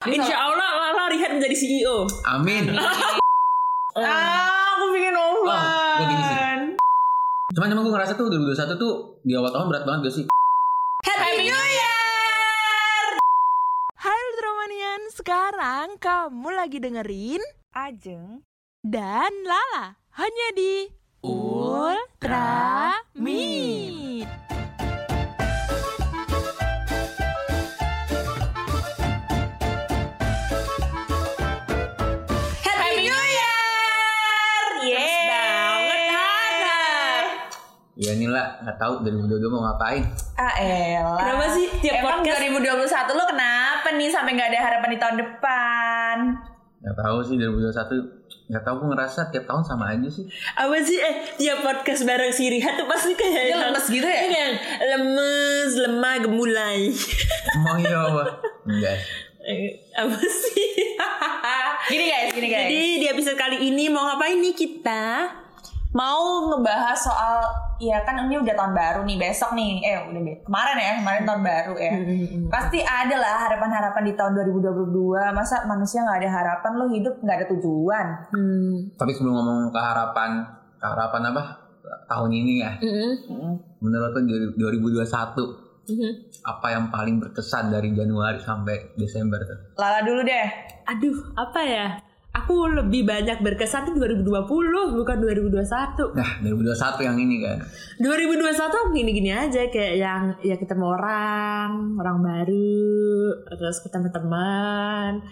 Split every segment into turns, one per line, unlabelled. Insya Allah Lala Rihat menjadi
E
CEO.
Amin.
Ah, aku pingin
Oh, gua gini sih.
Oman.
Cuman emang gue ngerasa tuh 2021 tuh di awal tahun berat banget gak sih?
Happy New Year.
Halo Ultramanian, sekarang kamu lagi dengerin
Ajeng.
dan Lala hanya di Ultra Meet.
Happy New Year. Yes
Yeay.
banget harap.
Ya ini lah, gak tau 2022 mau ngapain.
Ah, elah.
Kenapa sih tiap
Emang
podcast-
2021 lo kenapa nih sampai nggak ada harapan di tahun depan?
Gak tau sih 2021, gak tau gue ngerasa tiap tahun sama aja sih.
Apa sih eh dia podcast bareng si Rihat tuh pasti kayak
Dia lemes gitu ya?
Iya kan? Lemes, lemah, gemulai.
Mau iya Allah. Enggak.
Eh, Apa sih?
Gini guys, gini guys.
Jadi di episode kali ini mau ngapain nih kita?
mau ngebahas soal ya kan ini udah tahun baru nih besok nih eh udah be- kemarin ya kemarin tahun baru ya pasti ada lah harapan-harapan di tahun 2022 masa manusia nggak ada harapan lo hidup nggak ada tujuan
Hmm.
Tapi sebelum ngomong ke harapan, ke harapan apa? Tahun ini ya. Menurut lo di- 2021 apa yang paling berkesan dari Januari sampai Desember tuh?
Lala dulu deh
Aduh, apa ya? Aku lebih banyak berkesan di 2020 bukan 2021.
Nah, 2021 yang ini kan.
2021 gini-gini aja kayak yang ya ketemu orang, orang baru, terus ketemu teman.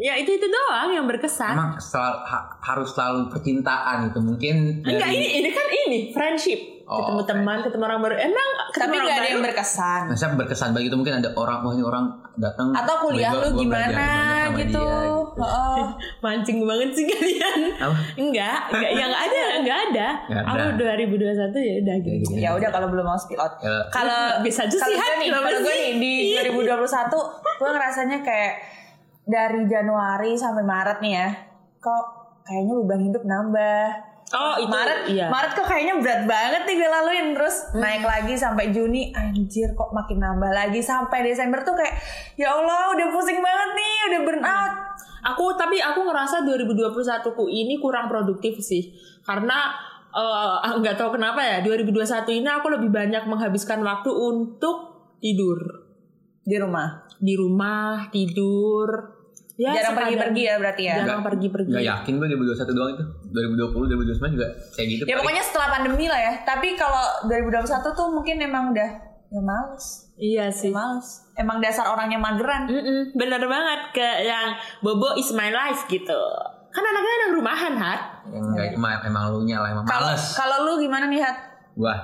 Ya itu itu doang yang berkesan.
Emang sel- ha- harus selalu percintaan itu mungkin
Enggak
dari-
ini ini kan ini friendship.
Oh,
ketemu teman, ketemu orang baru. Emang ketemu
tapi
orang
nggak ada
baru?
yang berkesan
Nah, saya berkesan bagi itu mungkin ada orang wah ini orang datang
atau kuliah
gua- gua
lu
belajar
gimana
banyak sama
gitu,
dia,
Heeh.
mancing banget sih kalian.
Apa?
Enggak, enggak yang ada, enggak ada.
Nggak ada.
Aku 2021 ya udah
Ya,
gitu.
gitu.
ya udah kalau belum mau spill out
Ya,
kalau
Bisa aja
kalau
sih,
gue
Han,
nih,
kenapa
kalau gue
sih?
nih di 2021 gue ngerasanya kayak dari Januari sampai Maret nih ya kok kayaknya beban hidup nambah
Oh, itu
Maret
iya. Hmm.
Maret kok kayaknya berat banget nih gue laluin terus naik lagi sampai Juni anjir kok makin nambah lagi sampai Desember tuh kayak ya Allah udah pusing banget nih udah
Hmm.
burn out
Aku tapi aku ngerasa 2021 ku ini kurang produktif sih. Karena eh, nggak tahu kenapa ya 2021 ini aku lebih banyak menghabiskan waktu untuk tidur
di rumah
di rumah tidur ya
jarang
sekadar-
pergi-pergi ya berarti ya
jarang pergi-pergi
Gak yakin gue 2021 doang itu 2020, 2021 juga kayak gitu
ya pokoknya setelah pandemi lah ya tapi kalau 2021 tuh mungkin emang udah ya males
iya sih
Males. Emang dasar orangnya mageran.
Mm-mm, bener banget ke yang Bobo is my life gitu kan anaknya anak rumahan hat
Yang kayak emang, emang lu nya lah, emang
Kalau-
males
Kalau lu gimana nih, Hat?
Wah,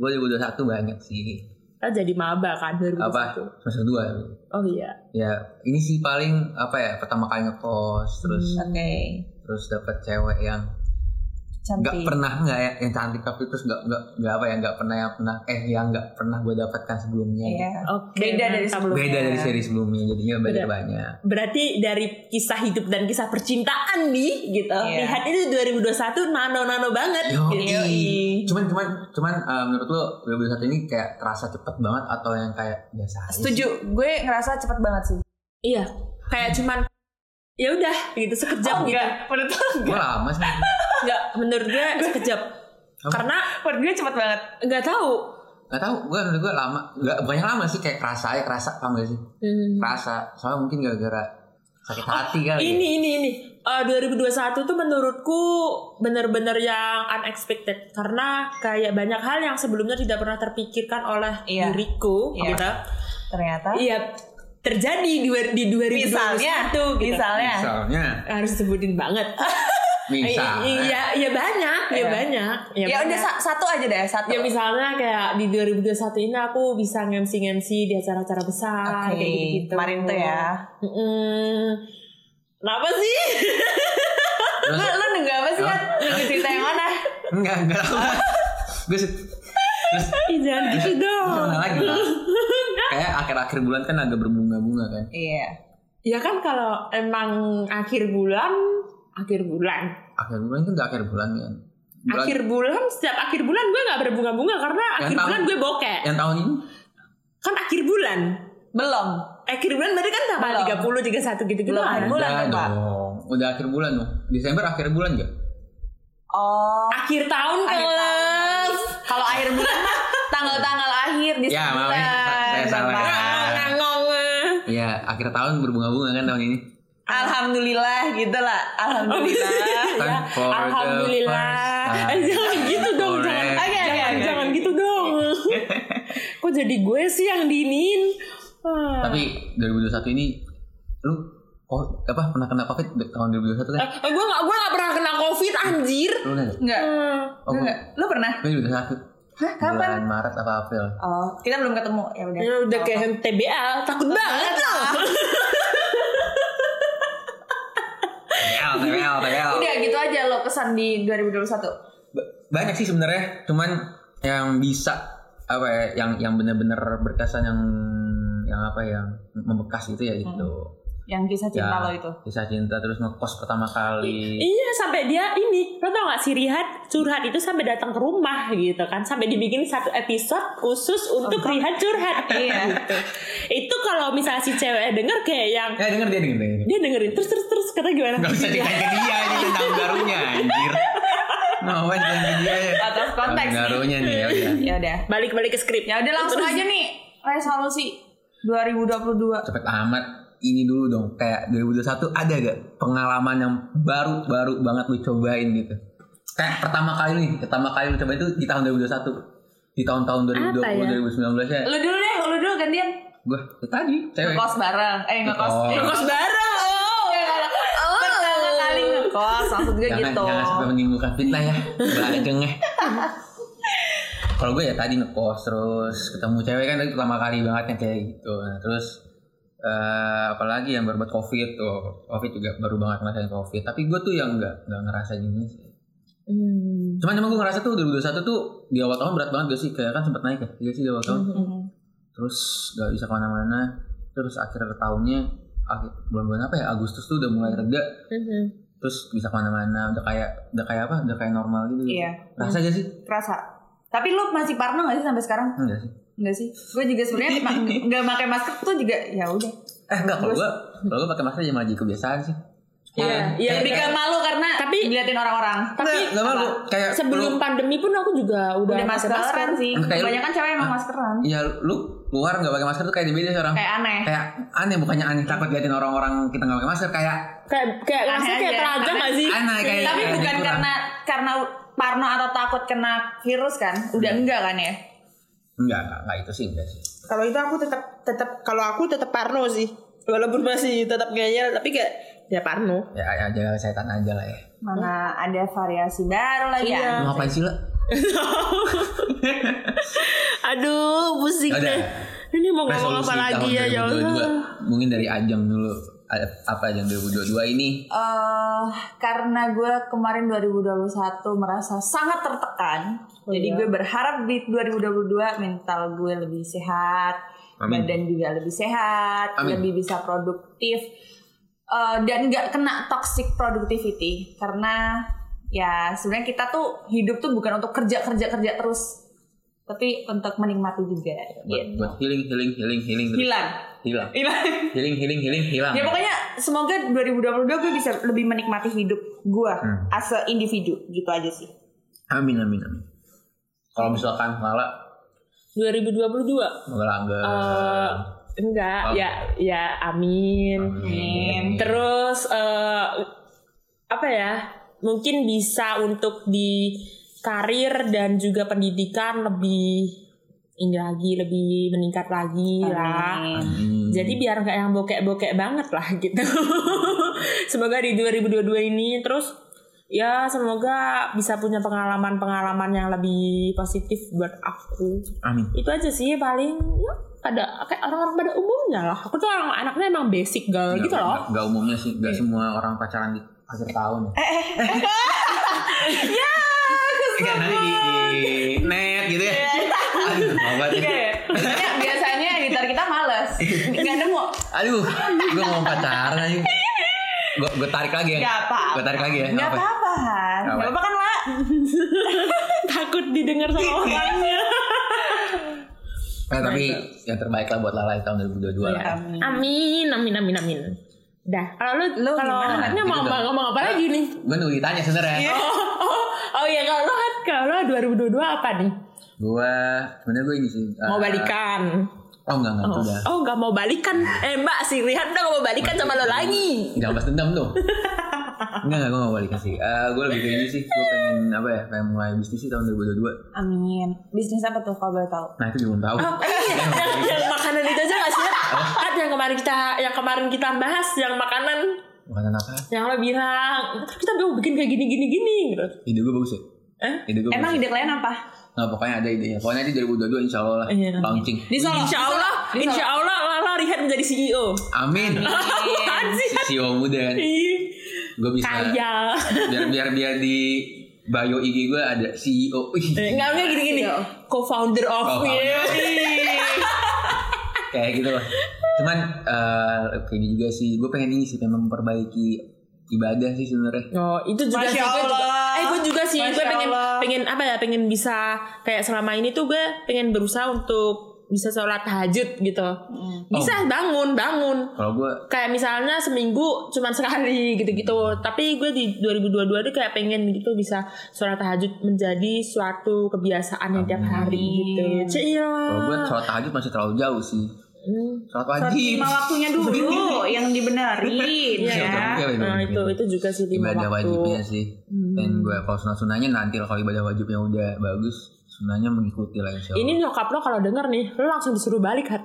gue 2021 banyak sih
kan jadi maba kan 2021
Apa? Semester 2
oh iya
Ya ini sih paling apa ya Pertama kali ngekos Terus
Oke.
terus dapat cewek yang nggak
Cantik.
pernah nggak ya yang cantik tapi terus nggak nggak nggak apa ya nggak pernah yang pernah eh yang nggak pernah gue dapatkan sebelumnya
Iya.
oke nah,
Beda dari
mantap.
sebelumnya.
beda dari seri sebelumnya jadinya belajar
Beda.
banyak
Berarti dari kisah hidup dan kisah percintaan nih gitu.
Iya.
Lihat itu 2021 nano-nano banget. gitu.
Yoi.
Yoi.
cuman cuman cuman eh, menurut lo 2021 ini kayak terasa cepet banget atau yang kayak biasa aja sih?
Setuju. Gue ngerasa cepet banget sih.
Iya. Kayak cuman ya udah gitu sekejap gitu.
Menurut lu
gue lama sih
Enggak, menurut gue sekejap.
Apa?
Karena
Menurut gue cepet banget.
nggak tahu.
nggak tahu gue menurut gue lama nggak bukannya lama sih kayak kerasa ya kerasa paham gak sih
Hmm.
Hmm.
kerasa soalnya mungkin gara-gara sakit hati kali ya.
Oh, Ini ini ini Eh, 2021 tuh menurutku bener-bener yang unexpected karena kayak banyak hal yang sebelumnya tidak pernah terpikirkan oleh
Iya.
diriku
Iya.
gitu.
Ternyata.
Iya terjadi di, di 2021
Misalnya.
gitu.
Misalnya.
misalnya
harus sebutin banget.
misalnya
I- Iya, iya banyak, ya
Iya.
banyak.
Ya, udah
banyak.
sa- satu aja deh, satu.
Ya misalnya kayak di 2021 ini aku bisa ngemsi-ngemsi di acara-acara besar
Oke,
kayak gitu-gitu.
kemarin tuh ya.
Mm-mm. Kenapa sih?
Lu,
terus
lu nunggu apa sih,
Apa?
Hat? Nunggu cerita yang mana?
enggak enggak tahu gue terus
Ih, jangan gitu
Terus
dong.
mana lagi lah. Kayak akhir-akhir bulan kan agak berbunga-bunga kan.
Iya.
Ya kan kalau emang akhir bulan, akhir bulan.
Akhir bulan itu udah akhir bulan kan. Bulan
Akhir bulan, setiap akhir bulan gue gak berbunga-bunga karena
Yang
akhir
tahu.
bulan gue bokeh.
yang tahun ini
Kan akhir bulan.
Belum.
akhir bulan berarti kan tanggal
Belum.
30, 31 gitu-gitu
Belum.
kan.
udah
bulan dong, Pak.
dong. Udah akhir bulan dong. Desember akhir bulan gak?
Oh.
Akhir tahun
Akhir
kelas.
Kalau akhir bulan mah tanggal-tanggal akhir di
Ya, maaf ya. Saya salah.
Bang.
Nangong.
Ya akhir tahun berbunga-bunga kan tahun ini.
Alhamdulillah gitu lah. Alhamdulillah.
Time
Ya,
for the
Alhamdulillah. Eh,
first time.
jangan gitu dong, jangan.
Forever.
Oke, oke,
jangan,
oke,
jangan
oke.
gitu dong. Kok jadi gue sih yang diinin? Ah.
Tapi 2021 ini lu oh, apa pernah kena covid di tahun 2021 kan?
eh, eh, gue gak, gue gak pernah kena covid anjir.
Lu nggak?
Enggak.
Ah.
Oh,
Enggak. Lu pernah?
Gue 2021.
Hah,
Bulan
kapan?
Maret apa April?
Oh, kita belum ketemu. Ya udah.
Ya udah kayak TBA, takut banget loh.
TL, TL, TL.
Udah gitu aja lo pesan di 2021.
Ba- Banyak sih sebenarnya, cuman yang bisa apa ya, yang yang benar-benar berkesan yang yang apa yang membekas itu ya itu. Ya,
yang kisah Hmm. cinta lo itu.
Kisah cinta terus ngekos pertama kali.
Iya sampai dia ini Lo tau gak si Rihat curhat itu sampai datang ke rumah gitu kan Sampai dibikin satu episode khusus untuk Rihat curhat
Iya.
gitu. Itu kalau misalnya si cewek denger kayak yang
Ya denger dia denger dia. denger.
Dia dengerin terus terus terus kata gimana
Gak bisa
Iya.
ditanya ke dia ini tentang barunya anjir. Ngapain jangan ke dia ya.
Out of context nih.
Tahun barunya nih ya udah.
Ya udah.
Balik-balik ke skrip
Ya udah langsung aja nih resolusi 2022.
Cepet amat ini dulu dong kayak 2021 ada gak pengalaman yang baru-baru banget lu cobain gitu kayak pertama kali nih pertama kali lu coba itu di tahun 2021 di tahun-tahun 2020
Apa ya?
2019 ya
Lu dulu deh, lu dulu gantian.
gue tadi cewek
Ngekos bareng. Eh ngekos.
Ngekos.
Eh,
Ngekos bareng oh.
Ya, kalau- Pertama kali ngekos maksud gue
jangan
gitu.
jangan sampai menimbulkan fitnah ya bajeng ya kalau gue ya tadi ngekos terus ketemu cewek kan itu pertama kali banget yang kayak gitu Nah, terus eh, apalagi yang berbuat covid tuh covid juga baru banget ngerasain covid tapi gue tuh yang nggak nggak ngerasain ini sih
Hmm.
cuman emang gue ngerasa tuh 2021 tuh di awal tahun berat banget gak sih kayak kan sempet naik ya iya sih di awal tahun
Mm-mm.
terus gak bisa kemana-mana terus akhir tahunnya akhir bulan-bulan apa ya Agustus tuh udah mulai reda
Mhm.
terus bisa kemana-mana udah kayak udah kayak apa udah kayak normal gitu
Iya,
Rasa aja sih?
kerasa. Tapi lu masih parno gak sih sampai sekarang?
Enggak sih.
Enggak sih. Gue juga sebenarnya ma- nggak pakai masker tuh juga ya udah.
Eh enggak kalau
Terus-
gua kalau gua pakai masker ya malah jadi kebiasaan sih.
Iya, iya,
kayak-
Lebih ke
kayak-
malu karena tapi
Tapi-
ngeliatin orang-orang.
Tapi
enggak, enggak malu. Kayak
sebelum
lu-
pandemi pun aku juga udah,
Udah
pakai
maskeran sih.
Kayak lu-
Kebanyakan cewek emang maskeran.
Iya, lu keluar enggak pakai masker tuh kayak beda orang.
Kayak aneh.
Kayak aneh bukannya aneh takut liatin orang-orang kita enggak pakai masker kayak
Kayak kayak
Aneh
rasanya kayak
aja.
telanjang
Aneh-
gak sih?
aneh kayak
Tapi
kayak gitu
bukan
kurang.
karena karena parno atau takut kena virus kan? Udah enggak kan ya?
enggak enggak, enggak itu sih enggak sih.
kalau itu aku tetap tetap kalau aku tetap parno sih walaupun masih tetap ngeyel tapi kayak ya parno
Ya ya jaga kesehatan aja lah ya.
Mana ada variasi baru lagi
Iya.
ya?
Lu ngapain sih lu?
aduh pusing
Ada. ya?
deh ini mau ngomong
Resolusi
apa lagi
tahun
ya ya
2022.
Allah
Mungkin dari Ajeng dulu. Ada Apa yang 2022 ini?
eh karena gue kemarin 2021 merasa sangat tertekan. jadi gue berharap di 2022 mental gue lebih sehat,
Amin.
badan juga lebih sehat,
Amin.
lebih bisa produktif eh, dan nggak kena toxic productivity. Karena ya sebenarnya kita tuh hidup tuh bukan untuk kerja kerja kerja terus, tapi untuk menikmati juga.
Buat,
Gitu.
buat healing, healing, healing, healing. terus.
Hilang.
Hilang.
Hilang.
Healing, healing, healing, hilang.
Ya pokoknya semoga 2022 gue bisa lebih menikmati hidup gue
Hmm.
as a individu gitu aja sih.
Amin amin amin. Kalau misalkan Lala
2022
nggak langgar.
Eh, enggak
Apa?
ya ya amin
Amin.
terus eh, apa ya mungkin bisa untuk di karir dan juga pendidikan lebih ini lagi lebih meningkat lagi
Iya.
lah
Amin.
Amin.
Jadi biar nggak yang bokek-bokek banget lah gitu. semoga di 2022 ini terus ya semoga bisa punya pengalaman-pengalaman yang lebih positif buat aku.
Amin.
Itu aja sih paling ya, pada kayak orang-orang pada umumnya lah. Aku tuh orang anaknya emang basic
Eh,
girl gitu
Nggak-
loh.
nggak- nggak umumnya sih,
Iya.
nggak semua orang pacaran di akhir tahun. Eh, ya, nanti di, di net gitu ya. Aduh, obat.
Iya ya. Biasanya, biasanya editor kita males. Nggak nemu.
Aduh, gue mau pacaran aja. Gue gue tarik lagi ya.
Nggak apa-apa.
Gue tarik lagi ya.
Nggak apa-apa Han.
Nggak
Nggak
apa.
apa-apa kan lah.
Iya.
Takut didengar sama orangnya.
Eh, Nah, tapi yang terbaik lah buat Lala di tahun 2022 lah. ya.
Amin.
Iya. Amin, amin, amin, amin. Dah, kalau lu,
Lu
kalau
gimana?
ini mau
Gitu
ngomong,
dong.
ngomong apa lagi nih?
Gue nunggu ditanya sebenernya.
Iya. Oh iya, kalau lu kan kalau lu 2022 apa nih?
Gue sebenernya gue ini sih. eh,
Mau balikan?
Oh enggak enggak
Oh,
udah.
oh nggak mau balikan? Eh Mbak, si Rihan udah nggak mau balikan sama lo lagi.
Jangan balas dendam tuh. enggak enggak gue gak balikan sih. Eh gue lebih ke ini sih. Gue pengen apa ya? Pengen mulai bisnis sih tahun 2022.
Amin. Bisnis apa tuh kalau boleh tahu?
Nah itu juga belum tahu.
Oh. yang, yang makanan itu aja nggak sih? Kan yang kemarin kita yang kemarin kita bahas yang makanan
Makanan apa?
yang lo bilang "Ntar kita mau bikin kayak gini gini gini gitu.
Ide gue bagus ya.
Eh?
Ide gue
Emang
bagus.
ide kalian apa?
Nah, pokoknya ada idenya. Pokoknya nanti 2022 insya Allah lah.
Iya.
Launching.
Di Solo.
Insya
di Solo,
Allah,
di Solo.
Insya Allah Lala Rihan menjadi CEO.
Amin.
Apaan sih?
CEO muda kan.
Ih,
Gue bisa.
Iya. Kaya.
Biar biar biar di bio IG gue ada E CEO. Ih,
Enggak enggak gini gini.
Iya.
Co-founder of
Co-founder.
Yoi.
kayak gitu loh. Cuman eh kayak juga sih, gue pengen ini sih pengen memperbaiki ibadah sih sebenarnya.
Oh, itu juga
Masya
sih gue juga.
Allah.
Eh, gue juga sih gue
Masya
pengen
Allah.
pengen apa ya? Pengen bisa kayak selama ini tuh gue pengen berusaha untuk bisa sholat tahajud gitu.
Hmm.
Oh.
Bisa bangun, bangun.
Kalau gue
Kayak misalnya seminggu cuman sekali
Hmm.
gitu-gitu. Tapi gue di 2022 tuh kayak pengen gitu bisa sholat tahajud menjadi suatu kebiasaan yang tiap hari gitu. Cia.
kalau gue sholat tahajud masih terlalu jauh sih.
Hmm.
Sholat
Sholat
wajib.
lima waktunya dulu yang dibenerin kan?
Iya,
Iya,
ya.
betul, betul,
Nah,
betul.
itu itu juga sih lima
ibadah
waktu. Hmm.
wajibnya sih. Dan gue kalau sunah sunahnya nanti lah, kalau ibadah wajibnya udah bagus, sunahnya mengikuti lah insya Allah.
Ini nyokap lo kalau denger nih, lo langsung disuruh balik kan?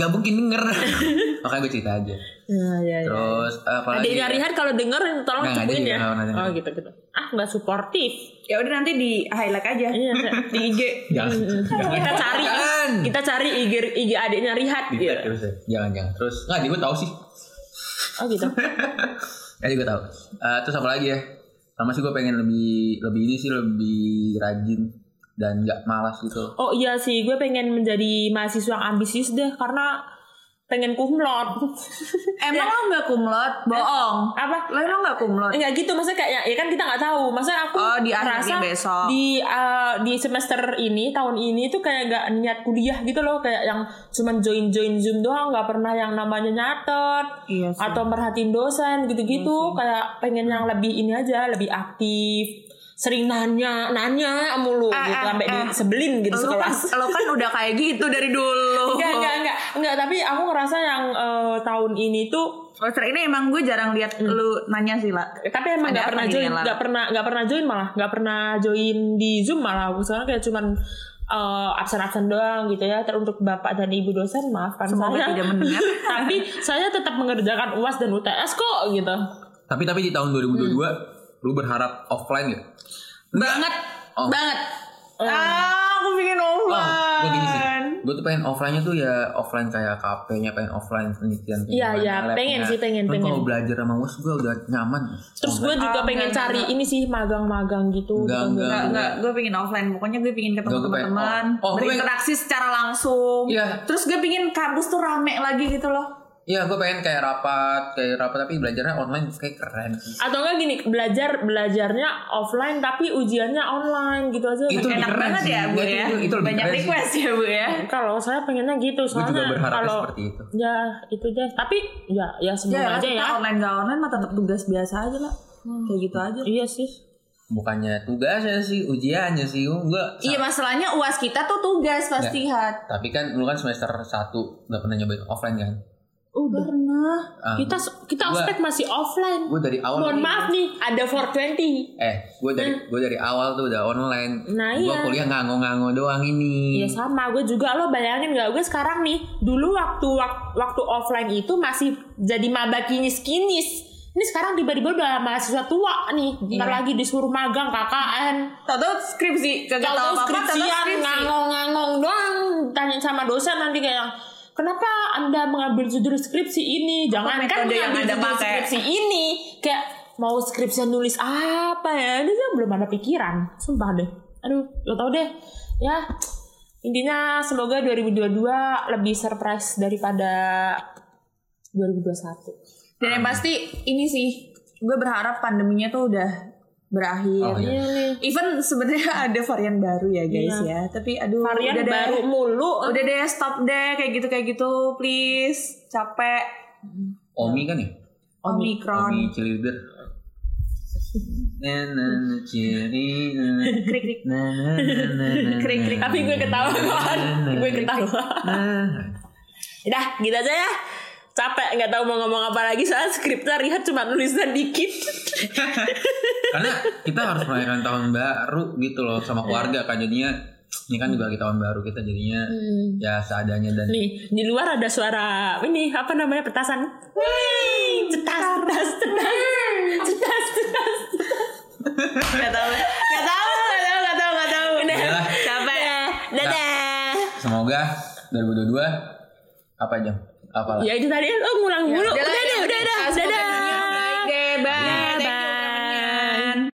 Gak mungkin denger. Makanya gue cerita aja.
Iya iya. iya.
Terus apa lagi?
Adiknya Rihan kalau denger tolong
Nggak,
cepuin
nggak
ya.
ada, nggak ada, nggak
Oh
ada.
gitu gitu. Ah nggak suportif.
ya udah nanti di highlight aja
Iya.
di IG
Jangan. jangan.
kita cari Iya.
Jangan.
kita cari IG IG adiknya Rihan.
Di
Gitu.
tag terus ya. Jangan jangan. Terus nggak, di gue tahu sih.
Oh gitu.
Ya juga tahu. Eh, terus apa lagi ya? Sama sih gue pengen lebih lebih ini sih lebih rajin dan nggak malas gitu.
Oh iya sih, gue pengen menjadi mahasiswa yang ambisius deh karena pengen kumlot.
emang lo nggak kumlot bohong
Apa?
lo emang nggak kumlot
Enggak gitu, maksudnya kayak ya, ya kan kita nggak tahu. Maksudnya aku
Oh, di akhirnya
merasa
besok.
di eh, di semester ini tahun ini tuh kayak nggak niat kuliah gitu loh, kayak yang cuman join join zoom doang, nggak pernah yang namanya nyatet
Iya sih.
atau merhatiin dosen gitu-gitu. kayak pengen yang lebih ini aja, lebih aktif, sering nanya nanya mulu
Ah,
gitu
ah,
sampai
ah.
disebelin gitu
lo kan
sekelas.
lo kan udah kayak gitu dari dulu
Enggak, enggak, enggak, enggak, tapi aku ngerasa yang eh, tahun ini tuh
Poster ini emang gue jarang lihat lu nanya sih lah.
Eh, tapi emang
Ada
nggak
apa gitu
pernah
nih,
join
Nela?
nggak pernah nggak pernah join malah nggak pernah join di zoom malah aku sekarang kayak cuman eh, absen-absen doang gitu ya teruntuk bapak dan ibu dosen maafkan
Semoga
saya
tidak mendengar.
tapi saya tetap mengerjakan uas dan UTS kok gitu
Tapi tapi di tahun 2022
Hmm.
lu berharap offline gak?
Banget,
Oh.
banget. Ah, aku pengen
Oh, gue gini sih.
offline.
Gue tuh pengen offline-nya tuh ya offline kayak KP-nya, pengen offline penelitian. pengen
Iya, iya,
lab-nya.
pengen sih, pengen,
Cuman
pengen.
Kalau belajar sama UAS gue udah nyaman.
terus gue juga
Ah,
pengen
enggak,
cari ini sih magang-magang gitu
Enggak,
Gitu.
enggak.
Enggak, enggak, gue pengen offline. Pokoknya gue pengen ketemu
Enggak, gue pengen-
teman-teman,
oh, oh, gue pengen-
berinteraksi secara langsung.
Iya.
Terus gue pengen kampus tuh rame lagi gitu loh.
Iya, gue pengen kayak rapat, kayak rapat tapi belajarnya online kayak keren.
atau enggak gini belajar belajarnya offline tapi ujiannya online gitu aja
Itu lebih
Enak
keren
banget
sih.
ya, Bu
Itu-
ya.
itu- itu lebih
Banyak
keren sih.
request ya, Bu ya.
kalau saya pengennya gitu
Gue juga
soalnya
berharap
kalau
seperti itu.
ya itu deh tapi ya ya
Ya,
semoga aja
kita
ya
online gak online mah tetap tugas biasa aja lah.
Hmm.
Kayak gitu aja.
iya sih
Bukannya tugasnya sih, ujiannya sih. Gue
Iya, masalahnya UAS kita tuh tugas pasti hat.
Tapi kan lu kan semester 1 gak pernah nyobain offline kan?
Oh,
udah
Pernah.
Ah,
kita kita
Gua-
ospek masih offline.
gue dari awal
Mohon maaf nih, ada 420.
eh gue dari gue dari awal tuh udah online
Nah,
gue
iya.
kuliah nganggo-nganggo doang ini
Ya sama, gue juga lo bayangin gak gue sekarang nih, dulu waktu wak- waktu offline itu masih jadi maba kinis kinis. Ini sekarang tiba-tiba udah mahasiswa tua nih, bentar lagi disuruh magang KKN.
Tahu skripsi, kagak tahu
Kalau
apa-apa, tahu
skripsian
skripsi.
ngangong-ngangong doang, tanya sama dosen nanti kayak yang, Kenapa Anda mengambil judul skripsi ini? Jangan kan
metode yang
mengambil
Anda
judul
pakai?"
skripsi ini. Kayak mau skripsian nulis apa ya? Ini tuh belum ada pikiran. Sumpah deh. Aduh, lo tau deh. Ya, intinya semoga 2022 lebih surprise daripada 2021.
Dan yang pasti ini sih, gue berharap pandeminya tuh udah berakhir.
Oh,
Iya
iya.
nih.
Even sebenarnya ada varian baru ya guys ya, tapi aduh
Varian
udah deh.
baru mulu.
Oh, udah deh stop deh kayak gitu kayak gitu please capek
Omi kan ya?
omikron
Omi cheerleader. Na na na cheerleader.
krik krik
Na na na na na.
Krik, krik.
Tapi gue ketawa kan.
Na, na,
gue
na.
ketawa. Udah, gitu aja ya. Capek nggak tahu mau ngomong apa lagi soal skripnya Rihat cuma nulisnya dikit.
Karena kita harus merayakan tahun baru gitu loh sama keluarga kan jadinya ini kan juga lagi tahun baru kita jadinya ya seadanya dan
Nih, di luar ada suara ini apa namanya petasan. Wih, cetas, cetas, cetas, cetas, cetas.
nggak tahu nggak tahu nggak tahu nggak tahu nggak tahu udah
Yalah.
capek
Dadah.
semoga 2022 apa jam? Apa lah?
Ya itu tadi oh ngulang mulu. Udah deh, udah dah.
Semoga dunia
Dadah.
baik deh bye
Ya,
Thank you.